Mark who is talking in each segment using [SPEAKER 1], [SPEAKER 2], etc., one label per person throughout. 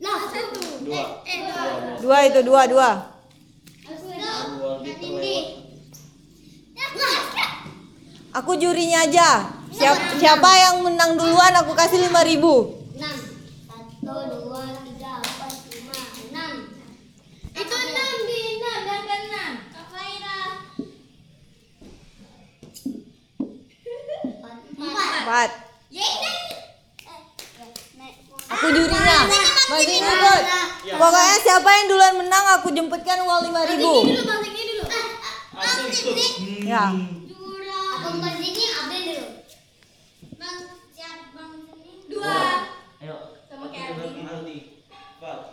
[SPEAKER 1] dua
[SPEAKER 2] Nah, eh,
[SPEAKER 3] Dua itu dua dua.
[SPEAKER 1] dua gitu lewat
[SPEAKER 2] Nah,
[SPEAKER 3] Aku jurinya aja. Siap- siapa yang menang duluan aku kasih 5000 ribu.
[SPEAKER 2] enam satu dua tiga empat lima enam itu enam di enam dan enam kak Faira empat
[SPEAKER 3] Empat.
[SPEAKER 2] ya ini Eh,
[SPEAKER 3] Aku jurinya. Bantuin jemput.
[SPEAKER 2] Iya.
[SPEAKER 3] Pokoknya siapa yang duluan menang aku jemputkan uang 5000 ribu.
[SPEAKER 2] dulu bang ini dulu ah,
[SPEAKER 1] aku ikut Hmm.
[SPEAKER 3] Ya.
[SPEAKER 2] jurang abang bang ini abang dulu bang siap bang ini
[SPEAKER 1] ayo
[SPEAKER 2] Sama
[SPEAKER 1] Aku
[SPEAKER 2] kayak
[SPEAKER 1] ikut Aldi empat
[SPEAKER 2] satu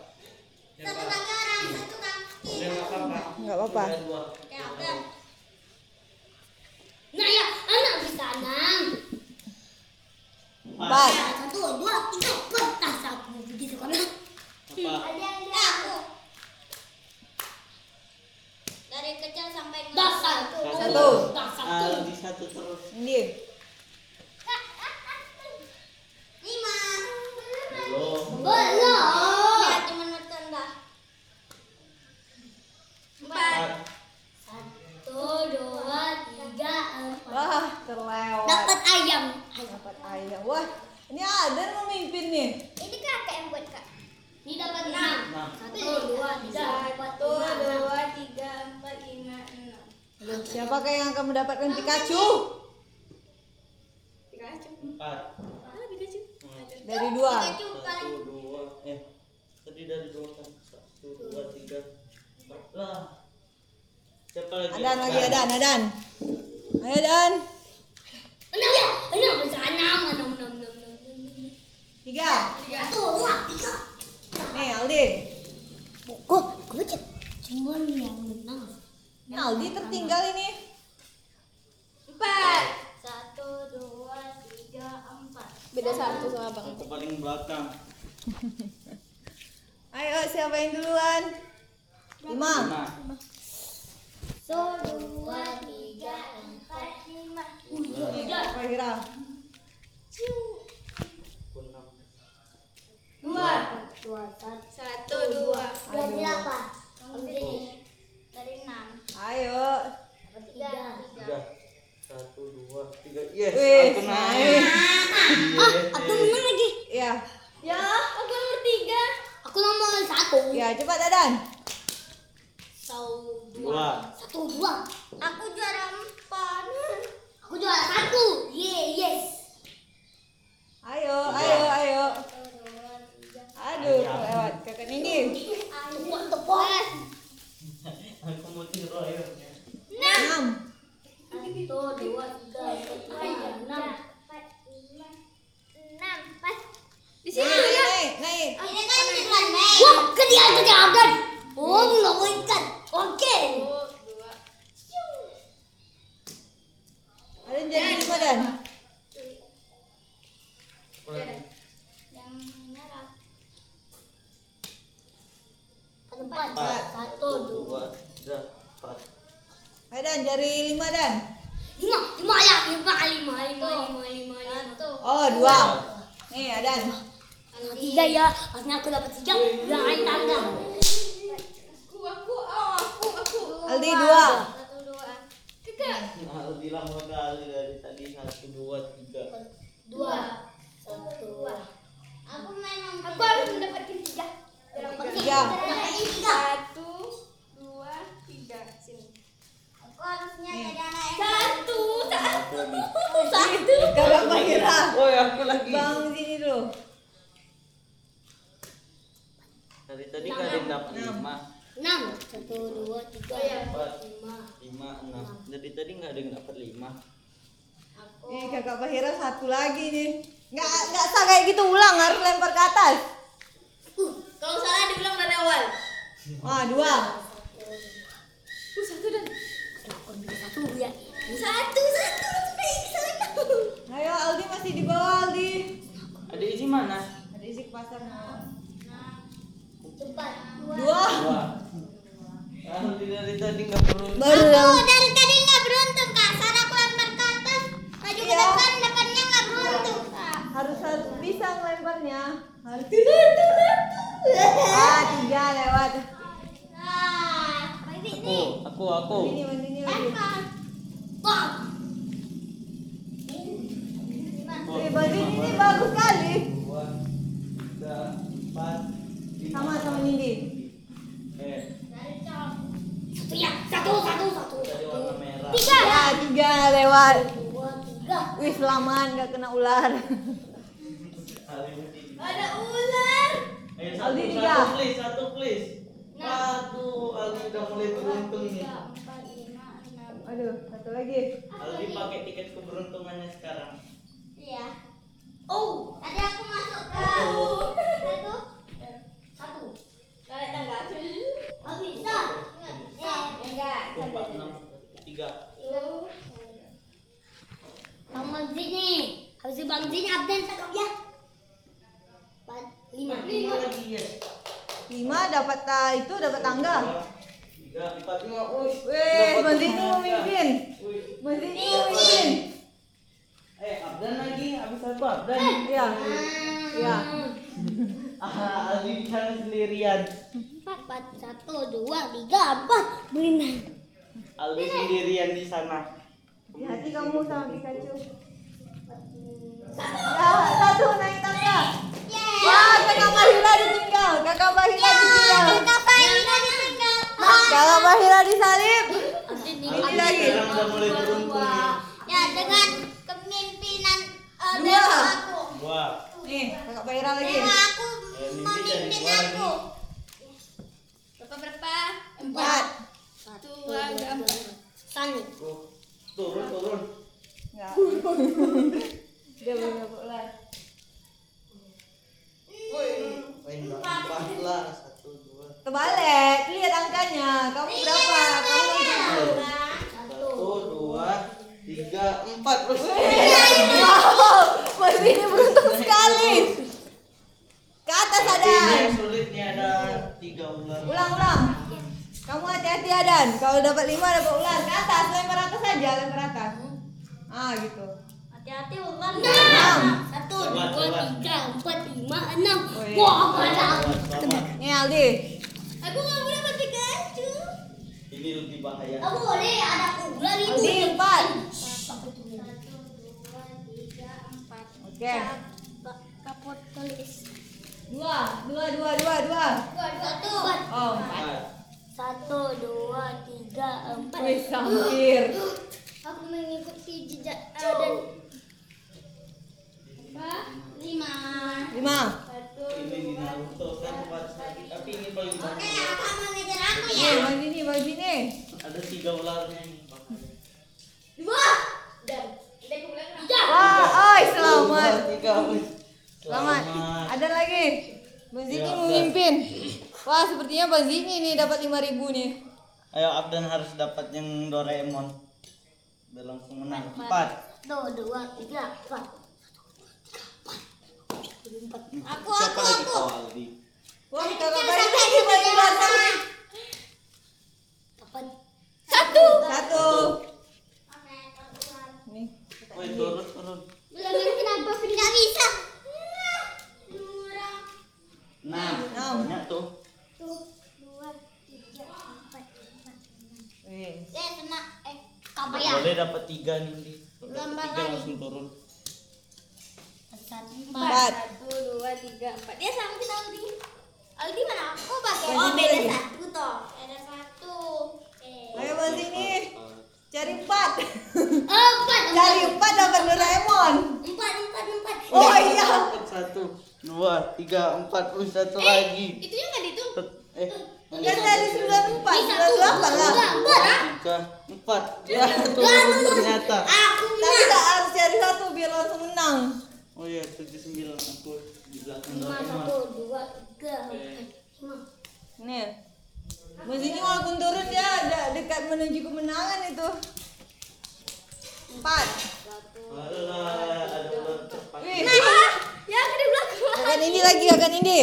[SPEAKER 1] Lewat.
[SPEAKER 2] kaki orang satu kaki
[SPEAKER 1] Lewat apa
[SPEAKER 3] Nggak apa-apa.
[SPEAKER 1] Lewat dua.
[SPEAKER 2] Ya, udah. nah ya anak bisa enam
[SPEAKER 3] Empat.
[SPEAKER 2] satu dua tiga empat nah satu begitu kan
[SPEAKER 1] apa
[SPEAKER 2] aku dari kecil sampai dasar
[SPEAKER 3] Satu.
[SPEAKER 2] dasar
[SPEAKER 1] Aldi satu terus
[SPEAKER 3] Ini.
[SPEAKER 2] lima
[SPEAKER 1] belum
[SPEAKER 2] belum ya cuma nonton dah
[SPEAKER 1] empat
[SPEAKER 2] satu dua tiga empat
[SPEAKER 3] Wah, terlewat.
[SPEAKER 2] dapat ayam ayam
[SPEAKER 3] Dapat ayam. Wah, ini ada yang memimpin nih.
[SPEAKER 2] ini kakak yang buat kak ini dapat enam
[SPEAKER 1] Enam.
[SPEAKER 2] satu dua tiga empat
[SPEAKER 4] Satu,
[SPEAKER 2] lima enam.
[SPEAKER 4] dua, tiga, empat, lima, enam.
[SPEAKER 3] Aduh, Siapa kayak yang akan mendapatkan Pikachu?
[SPEAKER 4] Pikachu.
[SPEAKER 1] empat
[SPEAKER 4] Ah, Pikachu. Ada.
[SPEAKER 3] Dari dua.
[SPEAKER 2] Pikachu paling
[SPEAKER 1] satu dua eh tadi dari dua kan satu dua tiga empat lah siapa lagi
[SPEAKER 3] Adan lagi Adan, Adan. Ayo Adan.
[SPEAKER 2] enam ya enam bisa enam enam enam enam enam, enam.
[SPEAKER 3] Tiga.
[SPEAKER 2] satu dua tiga
[SPEAKER 3] Nih Aldi.
[SPEAKER 2] kok gue cuma yang menang
[SPEAKER 3] Ini Aldi tertinggal ini.
[SPEAKER 4] Empat.
[SPEAKER 2] satu dua tiga empat
[SPEAKER 4] Beda satu sama abang.
[SPEAKER 1] aku paling belakang
[SPEAKER 3] Ayo siapa yang duluan? Lima.
[SPEAKER 1] lima
[SPEAKER 2] satu dua tiga empat lima
[SPEAKER 3] Apa kira?
[SPEAKER 1] aku enam
[SPEAKER 4] Dua.
[SPEAKER 2] dua satu
[SPEAKER 4] Satu, dua.
[SPEAKER 2] dari delapan dari dari enam
[SPEAKER 3] Ayo.
[SPEAKER 2] dapat tiga
[SPEAKER 1] tiga satu dua tiga yes
[SPEAKER 3] Wih,
[SPEAKER 1] aku naik
[SPEAKER 3] naik.
[SPEAKER 1] Yes.
[SPEAKER 2] aku menang lagi
[SPEAKER 3] Ya,
[SPEAKER 4] Ya, aku nomor tiga.
[SPEAKER 2] aku nomor satu
[SPEAKER 3] ya cepat Adan.
[SPEAKER 2] satu
[SPEAKER 1] dua
[SPEAKER 2] satu dua aku juara empat aku juara satu ye yes
[SPEAKER 3] Ayo, ayo,
[SPEAKER 1] Iya.
[SPEAKER 3] ayo.
[SPEAKER 2] satu dua tiga
[SPEAKER 3] Aduh, lewat kakak Nini.
[SPEAKER 2] ayo tepuk
[SPEAKER 1] aku mau tiru ayo
[SPEAKER 3] Enam.
[SPEAKER 2] satu dua tiga empat lima enam empat lima enam pas
[SPEAKER 4] Di sini
[SPEAKER 3] Naik,
[SPEAKER 4] ya.
[SPEAKER 3] naik, naik.
[SPEAKER 2] ini kan cuma main wah kedialan kedialan oh nggak mau ikat oke
[SPEAKER 4] Satu, dua.
[SPEAKER 3] Adan jadi lima Dan.
[SPEAKER 1] Aku lagi.
[SPEAKER 2] yang merah empat
[SPEAKER 1] empat
[SPEAKER 2] satu dua
[SPEAKER 1] dua tiga empat
[SPEAKER 3] Ayo Dan jadi lima Dan.
[SPEAKER 2] lima lima ya lima lima lima lima lima lima
[SPEAKER 3] Oh dua.
[SPEAKER 1] Iya.
[SPEAKER 3] Nih ya, Adan.
[SPEAKER 2] Kalau tiga ya, harusnya aku dapat tiga. Jangan tangga.
[SPEAKER 4] Aku, aku, oh, aku, aku.
[SPEAKER 3] Aldi dua.
[SPEAKER 4] Satu, dua. Kakak.
[SPEAKER 1] Nah, bilang dua kali dari tadi satu dua tiga
[SPEAKER 2] Dua. Satu. Dua. Aku memang
[SPEAKER 4] Aku harus mendapatkan tiga.
[SPEAKER 2] dapat
[SPEAKER 3] Tiga.
[SPEAKER 2] Dapat tiga.
[SPEAKER 4] Satu, dua, tiga. Sini.
[SPEAKER 2] Aku harusnya jadi anak yang
[SPEAKER 4] Satu, satu.
[SPEAKER 3] Kakak Mahira.
[SPEAKER 1] woi aku lagi
[SPEAKER 3] Bang sini dulu.
[SPEAKER 1] dari tadi kalian dapat lima
[SPEAKER 2] enam. Satu, dua, tiga,
[SPEAKER 1] Empat.
[SPEAKER 2] lima.
[SPEAKER 1] lima enam dari tadi nggak ada yang dapat lima
[SPEAKER 2] Aku.
[SPEAKER 3] Nih kakak Fahira satu lagi nih. Nggak nggak sah kayak gitu ulang harus lempar ke atas.
[SPEAKER 4] Kalau salah diulang dari awal.
[SPEAKER 3] Wah Ah, dua.
[SPEAKER 4] Uh, satu dan.
[SPEAKER 2] Aku ambil satu ya.
[SPEAKER 4] Satu, satu. Baik, satu.
[SPEAKER 3] Ayo Aldi masih di bawah Aldi.
[SPEAKER 1] ada isi mana
[SPEAKER 3] Ada isi ke pasar nah.
[SPEAKER 2] Cepat.
[SPEAKER 3] Dua.
[SPEAKER 1] dua Aldi dari tadi nggak perlu
[SPEAKER 3] Baru.
[SPEAKER 2] dari tadi nggak beruntung kak. Sarah aku lempar ke atas. Maju
[SPEAKER 3] Iya.
[SPEAKER 2] depannya nggak beruntung kak.
[SPEAKER 3] Harus harus bisa ngelemparnya. Harus. Ah tiga.
[SPEAKER 2] Nah,
[SPEAKER 1] aku.
[SPEAKER 3] Ini mandiri lagi.
[SPEAKER 2] Bang.
[SPEAKER 3] Eh, baju ini nih bagus kali.
[SPEAKER 1] Dua, tiga, empat, lima.
[SPEAKER 3] Sama sama Nindi.
[SPEAKER 1] Eh,
[SPEAKER 2] Satu ya, satu, satu, satu.
[SPEAKER 1] tadi warna merah.
[SPEAKER 2] Tiga.
[SPEAKER 3] Ya, tiga lewat.
[SPEAKER 2] Dua, tiga.
[SPEAKER 3] Wih, selamat nggak kena ular.
[SPEAKER 1] Hari ini.
[SPEAKER 4] Ada ular.
[SPEAKER 1] Ayo Eh, satu,
[SPEAKER 3] Aldi tiga.
[SPEAKER 1] satu please, satu please. Waduh, Aldi udah mulai beruntung nih.
[SPEAKER 2] empat, lima, enam.
[SPEAKER 3] Aduh, satu lagi.
[SPEAKER 1] Aldi pakai tiket keberuntungannya sekarang.
[SPEAKER 2] Iya. Oh, tadi aku masuk ke satu. Satu.
[SPEAKER 4] Kalau tangga tuh.
[SPEAKER 2] Oh, bisa. Eh,
[SPEAKER 4] Enggak.
[SPEAKER 1] Empat, enam, tiga.
[SPEAKER 2] Bang Manzi nih. Habis itu Bang Manzi absen cakep ya. Empat, lima.
[SPEAKER 1] Lima lagi ya. yes.
[SPEAKER 3] Lima dapat ah, itu dapat tangga.
[SPEAKER 1] Tiga, empat, lima. Ush,
[SPEAKER 3] Wih,
[SPEAKER 1] dapat
[SPEAKER 3] Mandini
[SPEAKER 1] tangga.
[SPEAKER 3] memimpin.
[SPEAKER 1] Ush.
[SPEAKER 3] Mandini memimpin.
[SPEAKER 1] Eh, Abdan lagi, habis apa? Abdan.
[SPEAKER 2] Eh.
[SPEAKER 3] Iya. Iya.
[SPEAKER 1] Ah, Aldi bicara sendirian.
[SPEAKER 2] Empat, empat, satu, dua, tiga, empat. Berenang.
[SPEAKER 1] Aldi sendirian di sana.
[SPEAKER 3] Hati kamu sama Pikachu. Ya, satu naik tangga. Ya, kakak Mahira ditinggal. Kakak Mahira ditinggal. Kakak Mahira disalib.
[SPEAKER 1] Aldi
[SPEAKER 3] lagi.
[SPEAKER 1] sekarang udah mulai beruntung. nih.
[SPEAKER 2] Ya, dengan kepemimpinan eh,
[SPEAKER 3] Dua.
[SPEAKER 2] dewa aku.
[SPEAKER 1] Dua.
[SPEAKER 3] Nih, kakak Mahira lagi.
[SPEAKER 2] Dewa aku
[SPEAKER 1] Eh, mimpi dari
[SPEAKER 2] memimpin
[SPEAKER 1] gua
[SPEAKER 2] aku.
[SPEAKER 4] Berapa berapa?
[SPEAKER 3] Empat.
[SPEAKER 2] Satu,
[SPEAKER 4] dua, tiga, empat.
[SPEAKER 2] Sani.
[SPEAKER 1] Tuh, Turun, turun.
[SPEAKER 3] Enggak. Dia belum dapat ular.
[SPEAKER 1] Main empat lah. Satu, dua,
[SPEAKER 3] Terbalik, lihat angkanya. Kamu berapa? Kamu berapa?
[SPEAKER 1] satu, dua, tiga, empat. Ush.
[SPEAKER 3] Wow, Mas ini beruntung sekali. Ke atas ada.
[SPEAKER 1] Ini yang sulitnya ada tiga ular.
[SPEAKER 3] Ulang, ulang. Kamu hati-hati Adan. Kalau dapat lima dapat ular ke atas, lempar atas aja, lempar atas. Ah gitu.
[SPEAKER 2] Hati-hati ular.
[SPEAKER 3] Nah.
[SPEAKER 2] Enam. Satu,
[SPEAKER 1] Ular,
[SPEAKER 2] dua,
[SPEAKER 1] ular.
[SPEAKER 2] tiga, empat, lima, enam.
[SPEAKER 3] Oh, iya.
[SPEAKER 2] Wah, malah.
[SPEAKER 1] Selamat, selamat.
[SPEAKER 3] Nih Aldi.
[SPEAKER 2] Aku nggak boleh pakai kacu.
[SPEAKER 1] Ini lebih bahaya.
[SPEAKER 2] Aku boleh ada ular itu.
[SPEAKER 3] Aldi empat.
[SPEAKER 2] Satu, dua, tiga, empat.
[SPEAKER 3] Oke.
[SPEAKER 2] Kap- Kapot tulis.
[SPEAKER 3] Dua, dua, dua, dua, dua.
[SPEAKER 2] Satu.
[SPEAKER 3] Oh empat.
[SPEAKER 1] Empat.
[SPEAKER 2] Satu, dua, tiga, empat.
[SPEAKER 3] Wih hampir.
[SPEAKER 2] Aku mengikuti jejak eh, dan
[SPEAKER 4] Empat.
[SPEAKER 2] lima.
[SPEAKER 3] Lima.
[SPEAKER 4] Satu.
[SPEAKER 1] Ini di Naruto kan empat. Tapi ini paling
[SPEAKER 2] Oke,
[SPEAKER 1] bahaya.
[SPEAKER 2] apa mau ngejar aku ya?
[SPEAKER 3] Nih bagi nih, bagi nih.
[SPEAKER 1] Ada tiga ularnya ini. Bahaya.
[SPEAKER 2] Dua.
[SPEAKER 4] Dan. Kita kemudian enam.
[SPEAKER 3] Wah, oi selamat.
[SPEAKER 1] Dua, Tiga. ush.
[SPEAKER 3] Selamat. Ada lagi. Bang Zini
[SPEAKER 1] Ya,
[SPEAKER 3] memimpin. Wah, sepertinya Bang Zini nih dapat 5000 nih.
[SPEAKER 1] Ayo Abdan harus dapat yang Doraemon. Udah langsung menang. Empat.
[SPEAKER 2] Satu, dua, tiga, empat. Satu, dua, tiga, empat. Aku,
[SPEAKER 1] Siapa
[SPEAKER 2] aku,
[SPEAKER 1] lagi
[SPEAKER 2] aku.
[SPEAKER 1] kau Aldi?
[SPEAKER 3] Wah, kita
[SPEAKER 2] Jangan
[SPEAKER 3] kakak
[SPEAKER 2] sampai
[SPEAKER 3] ini
[SPEAKER 2] aku
[SPEAKER 3] bagi
[SPEAKER 2] kejauhan.
[SPEAKER 3] bagi.
[SPEAKER 2] Kapan?
[SPEAKER 4] Satu.
[SPEAKER 3] Satu. Nih.
[SPEAKER 1] Woi turun turun.
[SPEAKER 2] Belum ngerti kenapa nggak bisa.
[SPEAKER 1] Enam.
[SPEAKER 3] Enam.
[SPEAKER 1] Nah, Banyak tuh.
[SPEAKER 2] Satu, dua, tiga, empat, lima, enam.
[SPEAKER 3] Wih.
[SPEAKER 2] Eh, kena. Eh, kapan ya?
[SPEAKER 1] Boleh dapat tiga nih. Di. Kalau dapat
[SPEAKER 2] Lambang
[SPEAKER 1] Tiga
[SPEAKER 2] lagi.
[SPEAKER 1] langsung turun.
[SPEAKER 2] Satu,
[SPEAKER 3] Empat.
[SPEAKER 4] Satu, dua, tiga, empat. Dia sama kita Aldi.
[SPEAKER 2] Aldi mana aku pakai?
[SPEAKER 3] Oh, beda
[SPEAKER 2] satu toh. Ada satu. Eh,
[SPEAKER 3] Ayo Bang Zini, cari empat.
[SPEAKER 2] empat.
[SPEAKER 3] Cari empat dapat Doraemon.
[SPEAKER 2] Empat, empat, empat. Eh,
[SPEAKER 3] Oh iya.
[SPEAKER 1] Satu, dua, tiga, empat. Ush,
[SPEAKER 2] Eh.
[SPEAKER 1] satu lagi.
[SPEAKER 4] Itunya enggak dihitung.
[SPEAKER 1] Eh.
[SPEAKER 3] Kan dari 94, 98 lah.
[SPEAKER 2] ah.
[SPEAKER 1] Tiga, empat. Ya turun ternyata.
[SPEAKER 2] Aku
[SPEAKER 3] Tapi tak harus cari satu biar langsung menang.
[SPEAKER 1] Oh iya tujuh sembilan. Aku di belakang
[SPEAKER 2] lima
[SPEAKER 1] Doraemon.
[SPEAKER 2] satu dua tiga
[SPEAKER 1] Eh.
[SPEAKER 2] lima.
[SPEAKER 3] Nih. Bang Zini walaupun turun dia ada dekat menuju kemenangan itu. Empat.
[SPEAKER 1] Alah, ada ular cepat.
[SPEAKER 3] Wih.
[SPEAKER 2] Ah,
[SPEAKER 4] Ya, aku di belakang.
[SPEAKER 3] Kakak ini lagi, kakak ini.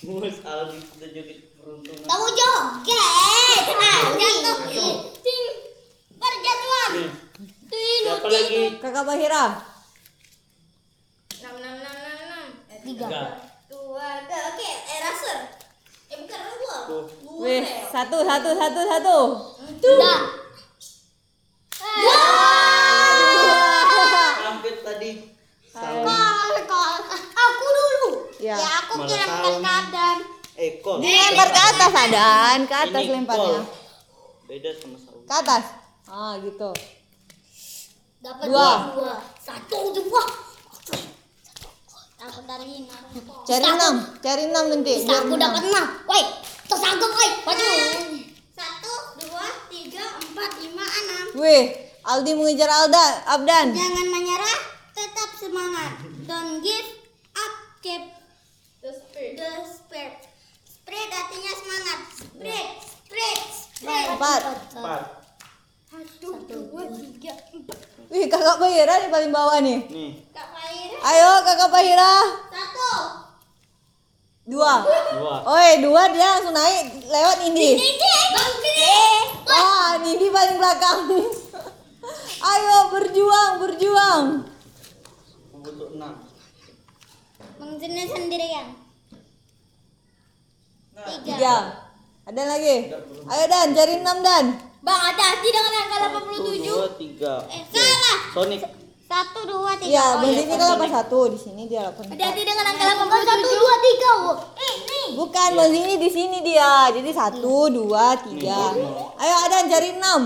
[SPEAKER 1] Bus Aldi sudah jadi beruntungan.
[SPEAKER 2] Tahu joget. Ah, jatuh. Ting. Berjatuhan.
[SPEAKER 1] Nih,
[SPEAKER 2] Ting.
[SPEAKER 1] Siapa lagi?
[SPEAKER 3] Kakak Bahira.
[SPEAKER 4] Enam, enam, enam, enam, enam.
[SPEAKER 2] Tiga.
[SPEAKER 1] Tiga.
[SPEAKER 4] Dua, tiga. Oke, eh, raser. Eh, bukan, dua.
[SPEAKER 1] Tuh.
[SPEAKER 4] Dua.
[SPEAKER 3] Wih, satu, satu, satu, satu.
[SPEAKER 1] Nah.
[SPEAKER 2] Tiga. Eh.
[SPEAKER 3] Ya.
[SPEAKER 2] Ya aku
[SPEAKER 1] Malah
[SPEAKER 2] kirimkan
[SPEAKER 1] tahun.
[SPEAKER 2] ke Adam.
[SPEAKER 1] Eh, kol.
[SPEAKER 3] Dilempar ke atas Adan, ke atas
[SPEAKER 1] Ini
[SPEAKER 3] lemparnya.
[SPEAKER 2] ya.
[SPEAKER 1] kol. Beda sama sawi.
[SPEAKER 3] Ke atas. Ah, gitu.
[SPEAKER 2] Dapat
[SPEAKER 3] Dua.
[SPEAKER 2] dua. Satu dua. Aku dari Naruto.
[SPEAKER 3] Cari
[SPEAKER 2] Bisa aku-
[SPEAKER 3] enam, cari enam nanti.
[SPEAKER 2] Bisa
[SPEAKER 3] biar
[SPEAKER 2] aku
[SPEAKER 3] menang.
[SPEAKER 2] dapat enam. Woi, tersanggup woi. Maju. Satu, dua, tiga, empat, lima, enam.
[SPEAKER 3] Wih, Aldi mengejar Alda, Abdan.
[SPEAKER 2] Jangan menyerah, tetap semangat. Don't give up, keep
[SPEAKER 4] The spirit.
[SPEAKER 2] the spirit. Spread artinya semangat. Spread, spread, spread.
[SPEAKER 3] Empat.
[SPEAKER 1] Empat.
[SPEAKER 2] Satu, dua, tiga, empat.
[SPEAKER 3] Wih, kakak Bahira di paling bawah nih.
[SPEAKER 1] Nih.
[SPEAKER 2] Kak Fahira.
[SPEAKER 3] Ayo, kakak Bahira.
[SPEAKER 2] Satu.
[SPEAKER 3] Dua.
[SPEAKER 1] Dua.
[SPEAKER 3] Oi, dua dia langsung naik lewat ini.
[SPEAKER 2] Ini. Bangkit.
[SPEAKER 3] Wah, ini di paling belakang. Ayo berjuang, berjuang.
[SPEAKER 1] Untuk enam.
[SPEAKER 2] Mengenai sendirian.
[SPEAKER 1] Nah.
[SPEAKER 2] Ya.
[SPEAKER 3] Tiga. Ada lagi? Ayo Dan, cari enam Dan.
[SPEAKER 2] Bang, ada hati dengan angka
[SPEAKER 1] Satu, dua, tiga.
[SPEAKER 2] Eh,
[SPEAKER 1] Oke.
[SPEAKER 2] salah.
[SPEAKER 1] Sonic.
[SPEAKER 2] Satu, dua, tiga.
[SPEAKER 3] Iya,
[SPEAKER 2] Oh,
[SPEAKER 3] di sini kalau pas satu, di sini dia delapan.
[SPEAKER 2] Ada hati dengan angka 87. Satu, dua, tiga. Ini.
[SPEAKER 3] Bukan, di sini di sini dia. Jadi satu, dua, tiga. Ayo Adan cari enam.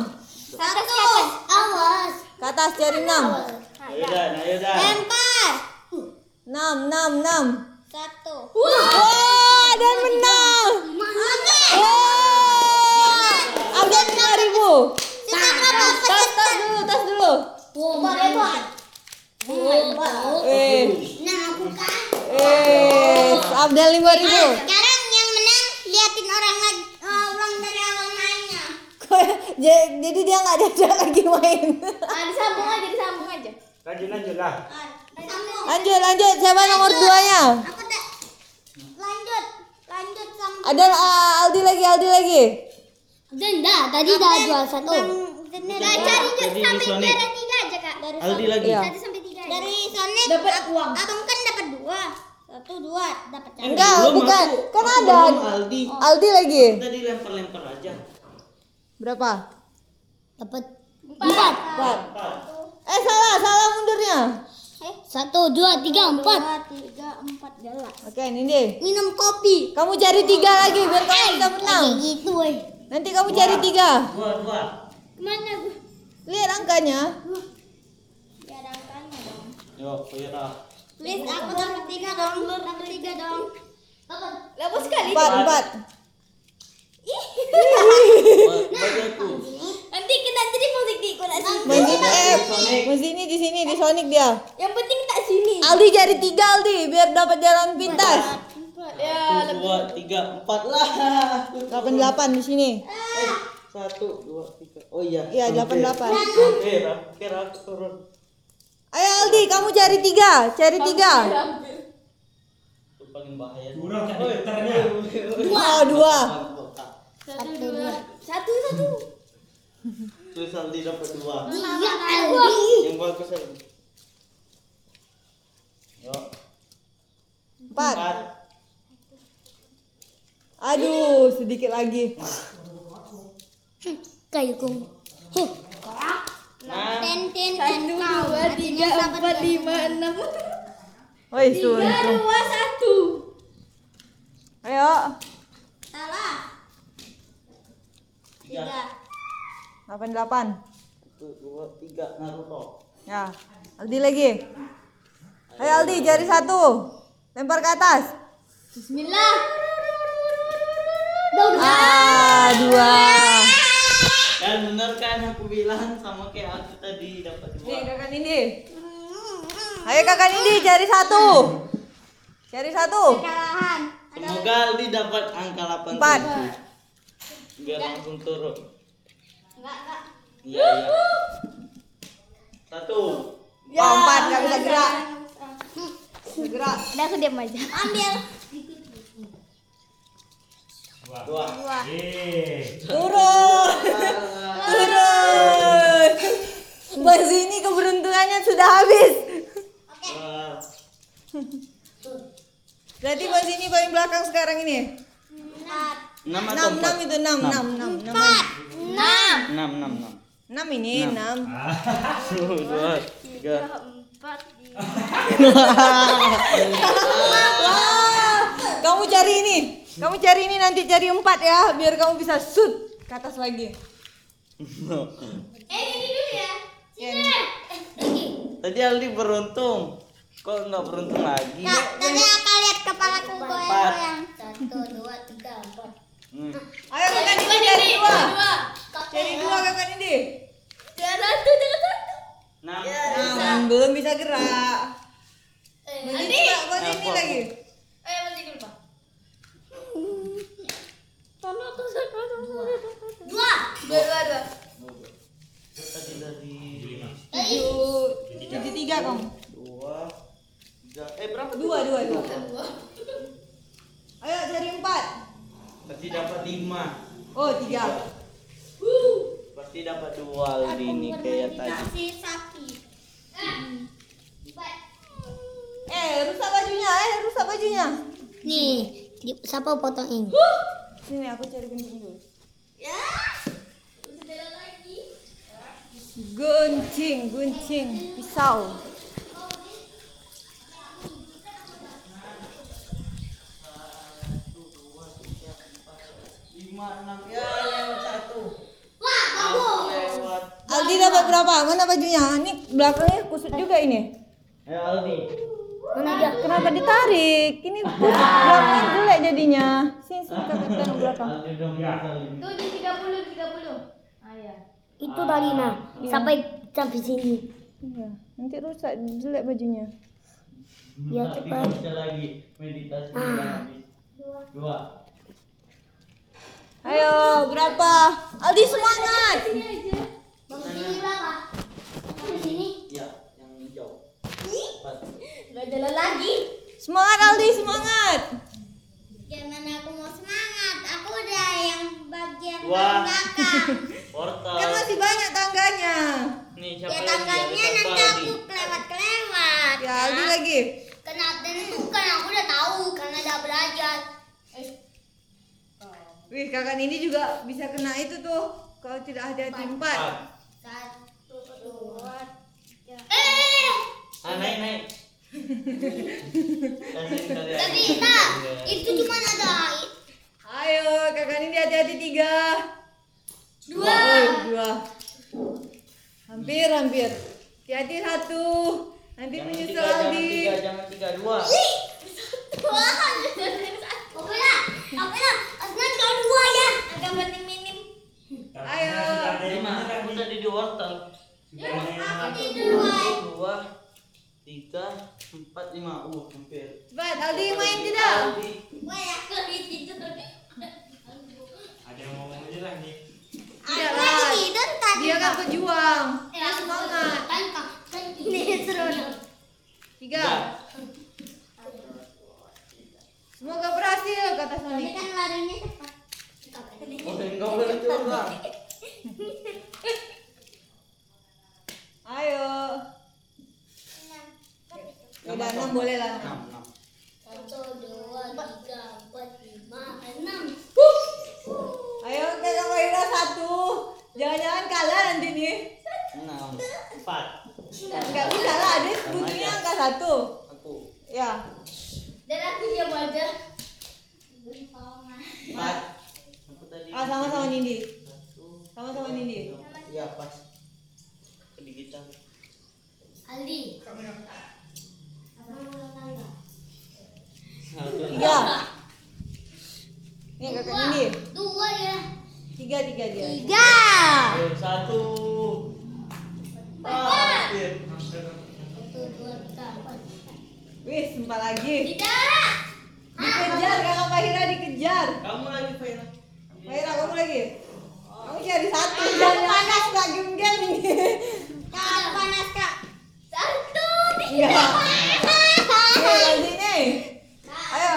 [SPEAKER 2] Satu. Awas.
[SPEAKER 3] Ke atas cari enam.
[SPEAKER 1] Ayo dan, ayo dan.
[SPEAKER 2] Lempar.
[SPEAKER 3] Enam, enam, enam.
[SPEAKER 2] Satu.
[SPEAKER 3] Wah, Adan menang. Wah, Adan lima ribu.
[SPEAKER 2] Kita berapa
[SPEAKER 3] Tas, tas dulu, tas dulu.
[SPEAKER 2] Bomba hebat. Bomba.
[SPEAKER 3] Eh,
[SPEAKER 2] Nah, aku kan. Nah,
[SPEAKER 3] eh, Abdel lima ribu.
[SPEAKER 2] Sekarang yang menang liatin orang lagi eh, orang dari awal mainnya.
[SPEAKER 3] Kok- ja- Jadi dia nggak diajak lagi main.
[SPEAKER 4] Ah, disambung aja, disambung aja.
[SPEAKER 1] Lanjut, lanjut lah.
[SPEAKER 2] Sambung.
[SPEAKER 3] Lanjut, lanjut. Siapa nomor duanya?
[SPEAKER 2] Ah, Aku tak lanjut lanjut sambung.
[SPEAKER 3] Ada ah, Aldi lagi, Aldi lagi.
[SPEAKER 2] Jenda tadi dah jual satu. Nah, cari
[SPEAKER 1] Jadi di Sonic.
[SPEAKER 2] dari tiga aja kak. Dari
[SPEAKER 1] Aldi lagi.
[SPEAKER 3] Iya.
[SPEAKER 2] satu sampai tiga. Dari Sonic
[SPEAKER 4] Dapat
[SPEAKER 2] ak-
[SPEAKER 4] uang.
[SPEAKER 2] Abang kan dapat dua. Satu dua dapat
[SPEAKER 1] Eh,
[SPEAKER 2] satu.
[SPEAKER 3] Enggak,
[SPEAKER 1] belum,
[SPEAKER 3] bukan.
[SPEAKER 1] aku-
[SPEAKER 3] Kan
[SPEAKER 1] aku
[SPEAKER 3] ada.
[SPEAKER 1] belum, Aldi.
[SPEAKER 3] Aldi lagi.
[SPEAKER 1] Tadi lempar-lempar aja.
[SPEAKER 3] Berapa?
[SPEAKER 2] Dapat empat.
[SPEAKER 3] Empat.
[SPEAKER 1] Empat.
[SPEAKER 3] Eh salah, salah mundurnya.
[SPEAKER 2] Eh? Satu dua tiga empat. Dua tiga empat jelas.
[SPEAKER 3] Oke, Nindi.
[SPEAKER 2] Minum kopi.
[SPEAKER 3] Kamu cari tiga lagi biar kamu
[SPEAKER 2] Eh,
[SPEAKER 3] bisa menang.
[SPEAKER 2] Kayak gitu eh.
[SPEAKER 3] Nanti kamu cari tiga.
[SPEAKER 1] Dua, dua.
[SPEAKER 2] Kemana gue?
[SPEAKER 3] Lihat angkanya.
[SPEAKER 2] Ya angkanya dong.
[SPEAKER 1] Yo, Fira.
[SPEAKER 2] Please aku dapat tiga dong. Dapat tiga dong. Dapat.
[SPEAKER 4] Lama sekali.
[SPEAKER 3] Empat, empat. Nah.
[SPEAKER 1] Bagiku.
[SPEAKER 4] Nanti kita jadi musik di ikut aja.
[SPEAKER 3] Main sini, eh,
[SPEAKER 1] Sonic.
[SPEAKER 3] main sini, di sini, di Sonic dia.
[SPEAKER 4] Yang penting tak sini.
[SPEAKER 3] Aldi cari tiga Aldi biar dapat jalan pintas.
[SPEAKER 4] Ya,
[SPEAKER 1] Satu, dua, tiga, empat lah.
[SPEAKER 3] 88 di sini.
[SPEAKER 1] Eh, Satu, dua, tiga. Oh iya.
[SPEAKER 3] Iya,
[SPEAKER 1] Hampir.
[SPEAKER 3] 88.
[SPEAKER 1] Hampir, hampir aku turun.
[SPEAKER 3] Ayo Aldi, kamu cari tiga, cari tiga.
[SPEAKER 1] Itu paling bahaya.
[SPEAKER 5] Kurang kan
[SPEAKER 1] Oi,
[SPEAKER 5] gitarnya.
[SPEAKER 1] oi, oi.
[SPEAKER 3] Dua, dua.
[SPEAKER 4] Satu, dua. Satu, satu.
[SPEAKER 1] Tulis Aldi dapat dua.
[SPEAKER 2] Iya Aldi.
[SPEAKER 1] Yang bagus Aldi. Yo,
[SPEAKER 3] Empat.
[SPEAKER 1] empat.
[SPEAKER 3] Aduh, sedikit lagi.
[SPEAKER 2] Hmm, Kayu kung. Huh. Korak.
[SPEAKER 1] Enam.
[SPEAKER 2] Ten ten ten
[SPEAKER 4] Satu,
[SPEAKER 2] kau.
[SPEAKER 4] dua, tiga, empat, lima, enam.
[SPEAKER 3] Woi,
[SPEAKER 4] Tiga, dua, satu.
[SPEAKER 3] Ayo.
[SPEAKER 2] Salah. Tiga.
[SPEAKER 3] 88.
[SPEAKER 1] Satu, dua, tiga. Naruto.
[SPEAKER 3] Ya. Aldi lagi. Ayo Aldi, cari satu. Lempar ke atas.
[SPEAKER 2] Bismillah. Dong.
[SPEAKER 3] Ah, dua.
[SPEAKER 1] Dan bener kan aku bilang sama kayak aku tadi dapat dua.
[SPEAKER 3] Nih, kakak Nindi. Ayo kakak Nindi, cari satu. Cari satu.
[SPEAKER 2] Kalahan.
[SPEAKER 1] Semoga Aldi dapat angka 8
[SPEAKER 3] Empat.
[SPEAKER 1] Biar langsung turun.
[SPEAKER 2] Enggak enggak.
[SPEAKER 1] Iya, iya. Satu.
[SPEAKER 3] Ya, empat, nggak bisa gerak. Gerak.
[SPEAKER 2] Udah aku diam aja. Ambil.
[SPEAKER 1] Dua.
[SPEAKER 5] Eh.
[SPEAKER 3] Turun. Turun. Mas ini keberuntungannya sudah habis.
[SPEAKER 1] Dua.
[SPEAKER 3] Berarti Mas ini paling belakang sekarang ini.
[SPEAKER 2] Empat.
[SPEAKER 1] Enam atau
[SPEAKER 3] 6
[SPEAKER 1] empat?
[SPEAKER 3] 6 itu 6
[SPEAKER 1] Enam.
[SPEAKER 3] 6 6 6.
[SPEAKER 2] Enam.
[SPEAKER 1] Enam, enam, enam.
[SPEAKER 3] 6 ini 6.
[SPEAKER 1] Ah. Satu, dua, tiga.
[SPEAKER 4] Empat,
[SPEAKER 3] Wah. Kamu cari ini. Kamu cari ini nanti cari empat ya, biar kamu bisa shoot ke atas lagi.
[SPEAKER 2] Eh, ini dulu ya.
[SPEAKER 3] Iya.
[SPEAKER 2] Sini. Eh,
[SPEAKER 1] Tadi Aldi beruntung. Kok nggak beruntung lagi?
[SPEAKER 5] Kak, tadi aku lihat kepalaku goyang-goyang.
[SPEAKER 2] Satu, dua, tiga, empat.
[SPEAKER 1] Hmm.
[SPEAKER 3] Ayo kakak ini cari dua. Cari
[SPEAKER 2] Kakek,
[SPEAKER 3] dua kakak ini.
[SPEAKER 4] Jangan satu, jangan satu.
[SPEAKER 1] Nah,
[SPEAKER 2] Iya,
[SPEAKER 3] Nah, belum bisa gerak.
[SPEAKER 4] Eh,
[SPEAKER 3] Buat
[SPEAKER 4] Aldi.
[SPEAKER 3] ini, Kak, buat ini
[SPEAKER 1] Apa?
[SPEAKER 3] lagi.
[SPEAKER 4] Eh, masih dulu, Pak. Tolong aku sama
[SPEAKER 2] Dua.
[SPEAKER 4] Dua, dua, dua.
[SPEAKER 1] tadi dari
[SPEAKER 3] Tujuh, tujuh tiga kamu.
[SPEAKER 1] dua, tiga. Eh berapa?
[SPEAKER 3] Dua, dua, dua. Ayo cari empat.
[SPEAKER 1] Pasti dapat lima.
[SPEAKER 3] Oh tiga.
[SPEAKER 1] Pasti dapat dua Aldi ini kayak tadi.
[SPEAKER 5] Si sapi.
[SPEAKER 3] Eh rusak bajunya, eh rusak bajunya.
[SPEAKER 5] Nih, di- siapa potong ini?
[SPEAKER 3] Sini aku cari gunting dulu. Gunting, gunting, pisau.
[SPEAKER 1] Lima, enam. Ya lewat satu.
[SPEAKER 2] Wah,
[SPEAKER 1] Aku lewat.
[SPEAKER 3] Aldi dapat berapa? Mana bajunya? Ah, Ini belakangnya kusut juga ini.
[SPEAKER 1] Eh Aldi.
[SPEAKER 3] Kenapa ditarik? Ini kusut belakangnya jelek jadinya. Sini sini kakak taruh belakang.
[SPEAKER 1] Aldi udah berapa?
[SPEAKER 4] Tuh di 30, 30. Ah, ya.
[SPEAKER 5] Itu dari
[SPEAKER 1] Ah,
[SPEAKER 5] nah,
[SPEAKER 1] iya.
[SPEAKER 5] sampai sampai sini.
[SPEAKER 3] Iya, nanti rusak jelek bajunya.
[SPEAKER 5] Ya,
[SPEAKER 1] Nanti
[SPEAKER 5] cepat.
[SPEAKER 1] baca lagi meditasi udah habis. Dua.
[SPEAKER 3] Ayo, berapa? Aldi semangat.
[SPEAKER 2] Bang sini berapa? Bang sini.
[SPEAKER 1] Ya, yang hijau. Empat.
[SPEAKER 4] Gak jalan lagi.
[SPEAKER 3] Semangat Aldi, semangat.
[SPEAKER 5] Gimana aku mau semangat? Aku udah yang bagian
[SPEAKER 1] Wah.
[SPEAKER 5] belakang.
[SPEAKER 3] Kan
[SPEAKER 1] Portal.
[SPEAKER 3] masih banyak tangganya.
[SPEAKER 1] Nih siapa
[SPEAKER 5] Ya
[SPEAKER 1] lagi?
[SPEAKER 5] tangganya
[SPEAKER 1] Ada
[SPEAKER 5] nanti
[SPEAKER 1] tambah, Aldi.
[SPEAKER 5] aku kelewat-kelewat.
[SPEAKER 3] Ya Aldi lagi.
[SPEAKER 5] Kena dan itu kan aku udah tahu karena udah belajar.
[SPEAKER 3] Wih, kakak ini juga bisa kena itu tuh. Kalau tidak ada di empat.
[SPEAKER 1] Empat.
[SPEAKER 5] Satu, dua,
[SPEAKER 2] Eh,
[SPEAKER 1] Ah, naik naik. Kan Kasihin kalian.
[SPEAKER 2] tapi nah, itu cuma ada
[SPEAKER 3] Ayo, kakak ini hati-hati tiga.
[SPEAKER 2] dua.
[SPEAKER 3] Oh, dua. Hampir, hampir. Hati-hati satu. Nanti
[SPEAKER 1] Jangan tiga,
[SPEAKER 3] menyusul
[SPEAKER 1] jangan
[SPEAKER 3] Aldi.
[SPEAKER 1] tiga, jangan tiga, dua.
[SPEAKER 2] Pokoknya, pokoknya, Asnan kau dua ya.
[SPEAKER 4] Agak minim-minim.
[SPEAKER 3] Ayo.
[SPEAKER 1] Lima. Kan Aku tadi di wortel.
[SPEAKER 2] Aku dua.
[SPEAKER 1] Satu, dua, tiga, empat, lima. Uh, hampir.
[SPEAKER 3] Cepat, Aldi main tidak?
[SPEAKER 1] Aldi.
[SPEAKER 2] Gue yakin di situ.
[SPEAKER 6] ada yang ngomong aja lah nih
[SPEAKER 3] Tidak
[SPEAKER 5] Aku
[SPEAKER 3] lah.
[SPEAKER 5] lagi tidur tadi.
[SPEAKER 3] Dia kan pejuang.
[SPEAKER 2] Eh, aku
[SPEAKER 3] Semangat.
[SPEAKER 2] Kan, kan, kan ini seru.
[SPEAKER 3] Tiga. Semoga berhasil, kata Sony.
[SPEAKER 5] Ini kan larinya cepat.
[SPEAKER 1] Oh, enggak boleh curang.
[SPEAKER 3] Ayo. Udah enam boleh lah.
[SPEAKER 1] Enam, enam.
[SPEAKER 2] Satu, dua, tiga, empat, lima, enam.
[SPEAKER 3] Ayo kakak Waira satu. Jangan-jangan kalah nanti nih.
[SPEAKER 1] Enam. Empat.
[SPEAKER 3] Enggak bisa lah, dia butuhnya angka satu.
[SPEAKER 1] Aku.
[SPEAKER 3] Ya.
[SPEAKER 4] Dan aku diam aja.
[SPEAKER 1] Empat. Aku tadi.
[SPEAKER 3] Ah sama-sama Nindi.
[SPEAKER 1] Satu.
[SPEAKER 3] Sama-sama Nindi.
[SPEAKER 1] Iya, pas. Kedigitan.
[SPEAKER 2] Aldi.
[SPEAKER 1] Satu.
[SPEAKER 3] Tiga. Nih kakak Nindi.
[SPEAKER 2] Dua ya.
[SPEAKER 3] Tiga tiga dia.
[SPEAKER 5] Tiga.
[SPEAKER 1] Ayo, Eh, satu. Ah, hampir.
[SPEAKER 2] Satu, dua, tiga, empat.
[SPEAKER 3] Wih sempat lagi.
[SPEAKER 2] Tidak.
[SPEAKER 3] Dikejar kakak Fahira dikejar.
[SPEAKER 1] Kamu lagi Fira.
[SPEAKER 3] Fahira kamu lagi. Kamu cari satu. Jangan panas nggak game game ini.
[SPEAKER 5] Kak, panas kak.
[SPEAKER 2] Satu.
[SPEAKER 3] Enggak. Ayo ganti nih. Ayo.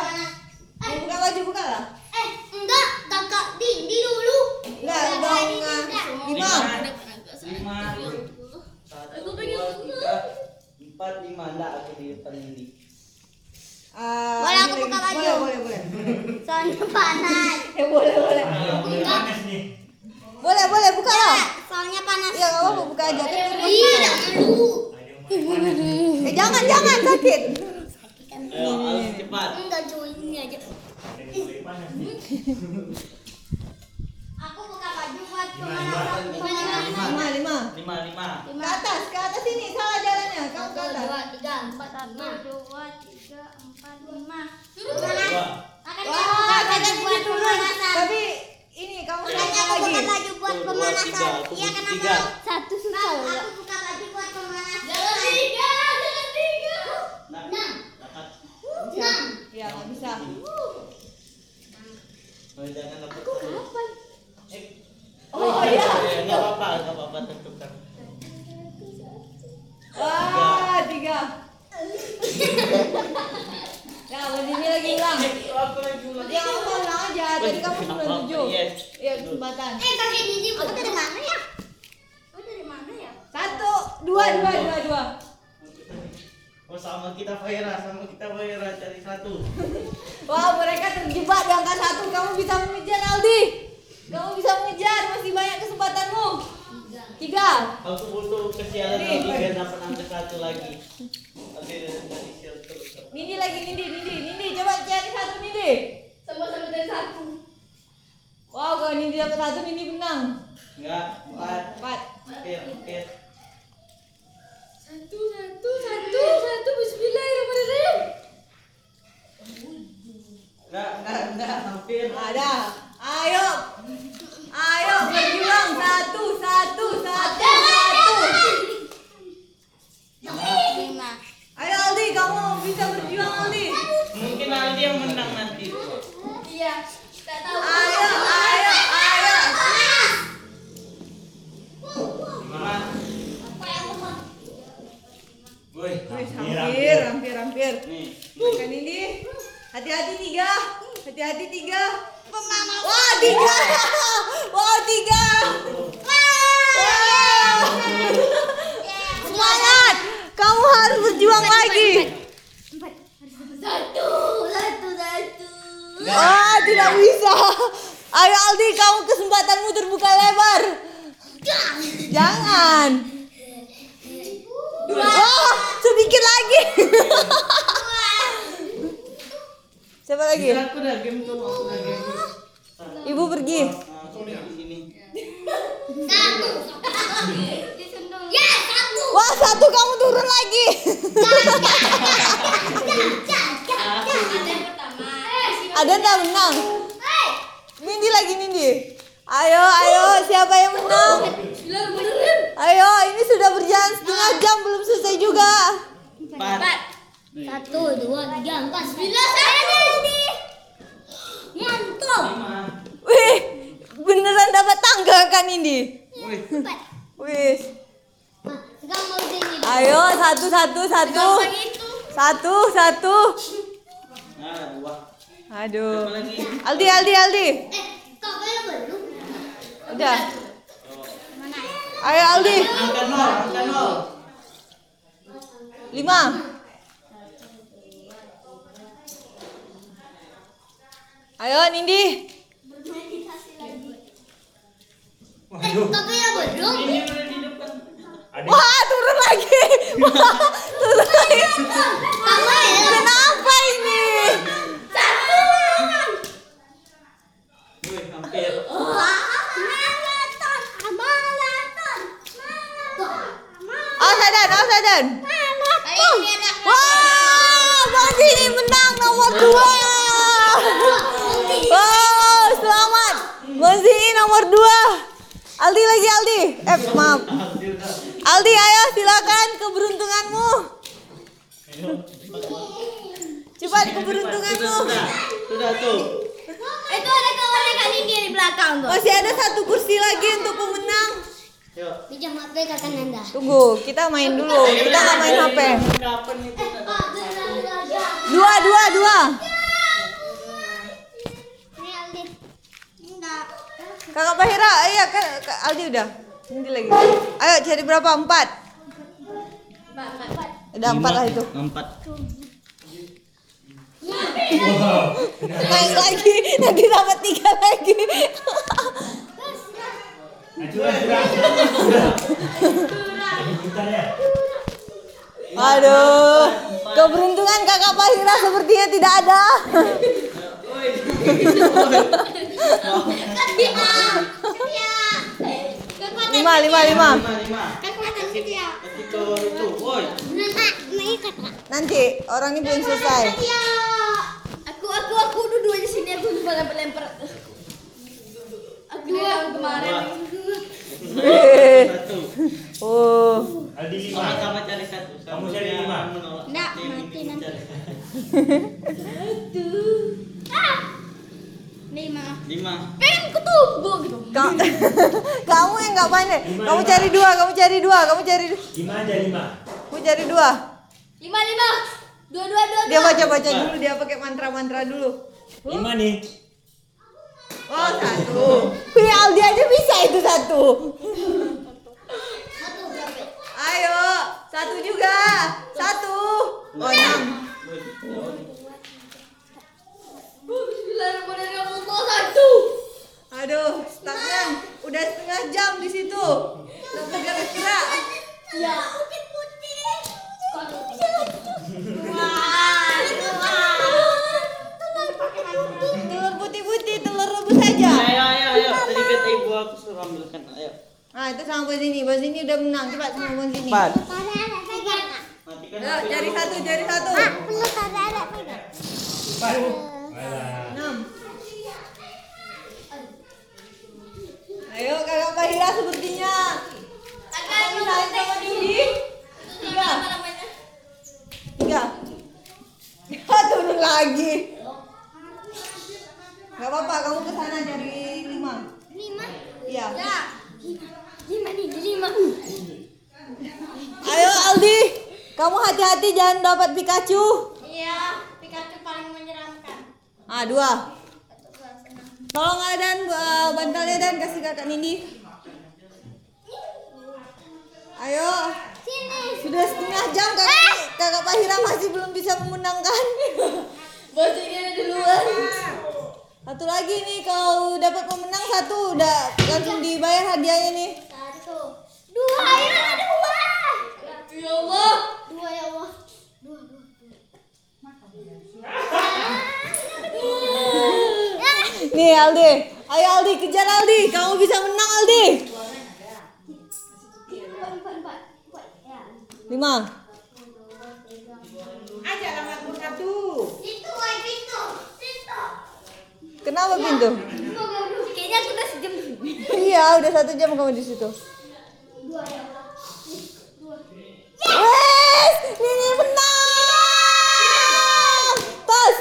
[SPEAKER 3] Mau buka baju buka lah.
[SPEAKER 2] Eh, enggak. Kakak Dindi dulu.
[SPEAKER 3] Enggak dong. ah. Lima.
[SPEAKER 1] Lima. Satu, dua, tiga, empat, lima. Enggak, aku di depan ini.
[SPEAKER 3] Ah,
[SPEAKER 5] Boleh aku
[SPEAKER 3] ini
[SPEAKER 5] buka
[SPEAKER 3] lagi.
[SPEAKER 5] baju?
[SPEAKER 3] Boleh boleh boleh.
[SPEAKER 5] Soalnya panas.
[SPEAKER 3] Eh boleh boleh.
[SPEAKER 6] Ayo, udah panas nih
[SPEAKER 3] Boleh boleh buka lah.
[SPEAKER 5] Soalnya panas.
[SPEAKER 3] Iya nggak apa-apa buka aja.
[SPEAKER 5] Ih, jangan lu.
[SPEAKER 6] ada yang mau panas
[SPEAKER 3] Eh jangan jangan sakit.
[SPEAKER 5] Ikan
[SPEAKER 1] Ayo, harus cepat.
[SPEAKER 2] Enggak cuy, ini aja.
[SPEAKER 6] Ada yang boleh panas nih.
[SPEAKER 7] Aku buka baju buat
[SPEAKER 6] Gimana,
[SPEAKER 7] kemana
[SPEAKER 6] gimana?
[SPEAKER 7] orang kemana orang
[SPEAKER 3] lima lima
[SPEAKER 1] Lima, lima.
[SPEAKER 3] ke atas ke atas ini salah jalannya kamu ke
[SPEAKER 2] Satu,
[SPEAKER 3] atas
[SPEAKER 2] dua, tiga, empat, lima.
[SPEAKER 7] dua tiga empat lima
[SPEAKER 1] Dua.
[SPEAKER 7] makanya
[SPEAKER 3] wah
[SPEAKER 7] aku buka
[SPEAKER 3] tadi
[SPEAKER 7] baju buat
[SPEAKER 3] gitu dulu
[SPEAKER 7] pemanasan
[SPEAKER 3] tapi ini kamu
[SPEAKER 2] Makanya
[SPEAKER 3] salah
[SPEAKER 2] aku
[SPEAKER 3] lagi
[SPEAKER 2] buka baju buat
[SPEAKER 1] Satu,
[SPEAKER 2] pemanasan.
[SPEAKER 1] dua, tiga. Aku
[SPEAKER 2] Iya
[SPEAKER 1] butuh
[SPEAKER 2] kenapa?
[SPEAKER 1] tiga.
[SPEAKER 2] Satu susah. Aku buka baju buat pemanasan. Jangan tiga, jangan tiga.
[SPEAKER 1] Nah,
[SPEAKER 2] Enam.
[SPEAKER 1] dapat.
[SPEAKER 2] Enam.
[SPEAKER 3] ya nggak bisa
[SPEAKER 1] Oh, jangan dapat. Eh,
[SPEAKER 3] oh iya
[SPEAKER 1] eh, nggak apa-apa, nggak apa-apa tentukan.
[SPEAKER 3] wah tiga ya ini lagi hilang
[SPEAKER 1] Eh, aku lagi ulang.
[SPEAKER 3] ya kamu ulang aja tadi kamu
[SPEAKER 1] Apa?
[SPEAKER 3] sembilan tujuh
[SPEAKER 1] Yes.
[SPEAKER 3] ya kesempatan
[SPEAKER 2] Eh kakek Gigi, aku dari mana ya?
[SPEAKER 4] Kau dari mana ya?
[SPEAKER 3] satu dua dua dua dua
[SPEAKER 1] Oh sama kita Faira, sama kita Faira cari satu.
[SPEAKER 3] Wow, mereka terjebak di angka satu. Kamu bisa mengejar Aldi. Kamu bisa mengejar, masih banyak kesempatanmu. Tiga.
[SPEAKER 1] Aku butuh kesialan
[SPEAKER 3] Nih.
[SPEAKER 1] lagi biar dapat angka satu lagi. Oke, dari sial terus.
[SPEAKER 3] Nindi lagi Nindi, Nindi, Nindi. Coba cari satu Nindi.
[SPEAKER 4] Sama-sama dari satu.
[SPEAKER 3] Wow, kalau Nindi dapat satu, Nindi menang.
[SPEAKER 1] Enggak, empat.
[SPEAKER 3] Empat.
[SPEAKER 1] Hampir, hampir.
[SPEAKER 4] Satu, satu, satu, satu. Bismillahirrahmanirrahim.
[SPEAKER 1] Enggak, enggak, enggak, hampir.
[SPEAKER 3] Ada. Ayo. Ayo berjuang satu, satu, satu, satu.
[SPEAKER 2] Lima.
[SPEAKER 3] Ayo Aldi, kamu bisa berjuang Aldi.
[SPEAKER 1] Mungkin Aldi yang menang nanti.
[SPEAKER 4] Iya. Tak tahu.
[SPEAKER 3] Ayo, ayo, ayo.
[SPEAKER 1] Gimana? Woi,
[SPEAKER 3] Wih,
[SPEAKER 6] Hampir,
[SPEAKER 3] hampir, hampir, hampir.
[SPEAKER 1] nih.
[SPEAKER 3] Bukan ini. Hati-hati tiga. Hati-hati tiga. Wah tiga. Wah tiga. Wah. Semangat. Kamu harus berjuang lagi.
[SPEAKER 2] Satu, satu, satu.
[SPEAKER 3] Ah tidak bisa. Ayo Aldi, kamu kesempatanmu terbuka lebar. Jangan. Oh, sedikit lagi. Siapa lagi?
[SPEAKER 1] Bisa aku udah game tuh, aku udah game.
[SPEAKER 3] Ibu pergi.
[SPEAKER 1] Nah, aku udah di sini.
[SPEAKER 2] Satu. Ya, satu.
[SPEAKER 3] Wah, satu kamu turun lagi.
[SPEAKER 4] Ada yang pertama. Eh, siapa?
[SPEAKER 3] Ada yang menang.
[SPEAKER 2] Hei,
[SPEAKER 3] Nindi lagi Nindi. Ayo, ayo, siapa yang menang?
[SPEAKER 4] Bismillahirrahmanirrahim.
[SPEAKER 3] Ayo, ini sudah berjalan setengah jam belum selesai juga.
[SPEAKER 1] Empat. Nih,
[SPEAKER 2] Satu, dua, tiga, empat, sembilan, satu. Mantap.
[SPEAKER 1] lima.
[SPEAKER 3] Wih, beneran dapat tangga kan Nindi?
[SPEAKER 1] Woi,
[SPEAKER 2] Empat.
[SPEAKER 3] Wih,
[SPEAKER 2] Nah, sekarang mau sini.
[SPEAKER 3] ayo satu satu satu,
[SPEAKER 2] itu.
[SPEAKER 3] satu satu.
[SPEAKER 1] nah dua. Siapa
[SPEAKER 3] Aduh.
[SPEAKER 1] lagi?
[SPEAKER 3] Aldi, Aldi, Aldi.
[SPEAKER 2] Eh, kau belum belum.
[SPEAKER 3] Udah.
[SPEAKER 1] Oh.
[SPEAKER 2] Mana?
[SPEAKER 3] Ayo Aldi.
[SPEAKER 1] Angka nol, angka nol.
[SPEAKER 3] Lima. Ayo Nindi.
[SPEAKER 2] Eh, kau belum belum.
[SPEAKER 1] Ini udah di depan.
[SPEAKER 6] Ada yang
[SPEAKER 3] Wah, turun lagi. Wah, turun lagi.
[SPEAKER 2] Kamu ya.
[SPEAKER 3] Kenapa ini?
[SPEAKER 1] Woi, hampir.
[SPEAKER 2] Maraton, maraton, maraton, maraton.
[SPEAKER 3] Awas Adan, awas Adan.
[SPEAKER 2] Kali ini ada
[SPEAKER 3] Wah, Bandi ini menang nomor 2. Wow, selamat. Bandi ini nomor 2. Aldi lagi Aldi. Eh, maaf.
[SPEAKER 1] Hampir dah.
[SPEAKER 3] Aldi, ayo silakan keberuntunganmu.
[SPEAKER 1] Ayo, cepat.
[SPEAKER 3] Cepat
[SPEAKER 1] Sudah,
[SPEAKER 3] keberuntunganmu.
[SPEAKER 1] sudah. Sudah tuh.
[SPEAKER 2] Itu ada kawannya Kak Nindi di belakang tuh.
[SPEAKER 3] Masih ada satu kursi lagi untuk pemenang.
[SPEAKER 1] Yuk.
[SPEAKER 2] Pinjam HP kakak Nanda.
[SPEAKER 3] Tunggu, kita main dulu. Oh, Kita nggak main HP.
[SPEAKER 1] Kapan itu?
[SPEAKER 3] Dua, dua, dua.
[SPEAKER 2] Ini Aldi. Enggak.
[SPEAKER 3] Kakak Bahira, iya kan Kak Aldi udah. Nanti lagi. Ayo cari berapa? Empat. Ada empat lah itu.
[SPEAKER 1] Empat.
[SPEAKER 3] Naik lagi, nanti dapat tiga lagi.
[SPEAKER 6] Curah, curah, curah. Curah. Bentar ya.
[SPEAKER 3] Aduh, ke Keberuntungan kakak Fahira sepertinya tidak ada.
[SPEAKER 1] Oi.
[SPEAKER 3] Lima, lima, lima.
[SPEAKER 1] Lima, lima. Nanti ke itu, woi.
[SPEAKER 3] Nanti orang ini belum selesai.
[SPEAKER 4] Aku aku aku duduk aja sini aku cuma lempar-lempar. Aku yang kemarin.
[SPEAKER 1] Satu.
[SPEAKER 3] Oh,
[SPEAKER 6] Aldi lima.
[SPEAKER 1] Sama-sama cari satu.
[SPEAKER 6] Kamu cari
[SPEAKER 1] yang
[SPEAKER 6] lima.
[SPEAKER 1] menolak.
[SPEAKER 5] Nggak,
[SPEAKER 1] Ini
[SPEAKER 5] mati
[SPEAKER 1] cari
[SPEAKER 5] nanti.
[SPEAKER 1] satu.
[SPEAKER 5] Lima.
[SPEAKER 1] Lima.
[SPEAKER 4] Pengen ketumbuk gitu.
[SPEAKER 3] ka- kamu yang nggak pandai. Kamu cari dua, kamu cari dua, kamu cari,
[SPEAKER 6] Lima aja lima.
[SPEAKER 3] kamu cari dua.
[SPEAKER 4] Lima lima. Dua dua dua.
[SPEAKER 3] Dia baca baca dulu, dia pakai mantra mantra dulu.
[SPEAKER 6] Lima nih.
[SPEAKER 3] Oh satu. Wih Aldi aja bisa itu satu. Ayo satu juga, satu. Oh enam.
[SPEAKER 1] Woi.
[SPEAKER 4] Bismillahirrahmanirrahim. Satu.
[SPEAKER 3] Aduh, stafnya udah setengah jam di situ. Nggak bergerak-gerak.
[SPEAKER 4] Ya.
[SPEAKER 3] Telur putih-putih, telur rebus aja.
[SPEAKER 1] Ayo, ayo, ayo. Tadi kata ibu aku suruh ambilkan. Ayo.
[SPEAKER 3] Nah, itu sama Bos ini. Bos ini udah menang. Cepat sama Bos ini.
[SPEAKER 1] Empat. Nanti kan
[SPEAKER 3] Ayo,
[SPEAKER 1] aku
[SPEAKER 3] cari
[SPEAKER 1] yang-
[SPEAKER 3] satu, cari satu.
[SPEAKER 6] Alah.
[SPEAKER 3] Enam. Ayo, kakak Bahira sepertinya. Kakak Bahira sama Didi. Tiga.
[SPEAKER 4] Iya.
[SPEAKER 3] Tiga. Ya, turun lagi. Gak apa-apa, kamu kesana cari lima. Iya.
[SPEAKER 5] Ya.
[SPEAKER 3] Ayo Aldi, kamu hati-hati jangan dapat Pikachu.
[SPEAKER 4] Iya,
[SPEAKER 3] Ah, dua. Tolong ah, dan eh, bantalnya dan kasih kakak Nindi. Ayo. Sudah setengah jam kakak, kakak Pahira masih belum bisa memenangkan.
[SPEAKER 4] Baca ini ada duluan.
[SPEAKER 3] Satu lagi nih kalau dapat pemenang satu udah langsung dibayar hadiahnya nih.
[SPEAKER 5] Dua, ayo ada dua.
[SPEAKER 4] Ya Allah.
[SPEAKER 5] Dua ya Allah. Dua, dua.
[SPEAKER 3] Nih Aldi, ayo Aldi kejar Aldi, kamu bisa menang Aldi. Lima.
[SPEAKER 5] Itu, ay, pintu. Pintu.
[SPEAKER 3] Kenapa pintu?
[SPEAKER 5] Kayaknya aku udah sejam di sini.
[SPEAKER 3] iya, udah satu jam kamu di situ.
[SPEAKER 5] Dua ya Allah. Dua.
[SPEAKER 3] Yes! Nini menang! Tas!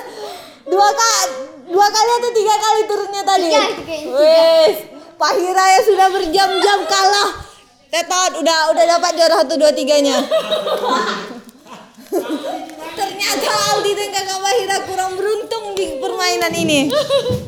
[SPEAKER 3] Dua kali, dua kali atau tiga kali turunnya tadi?
[SPEAKER 5] Tiga, itu kayaknya tiga.
[SPEAKER 3] Wes, Pahira ya sudah berjam-jam kalah. Tetot, udah udah dapat juara satu dua tiganya. Ternyata Aldi dan kakak Pahira kurang beruntung di permainan ini.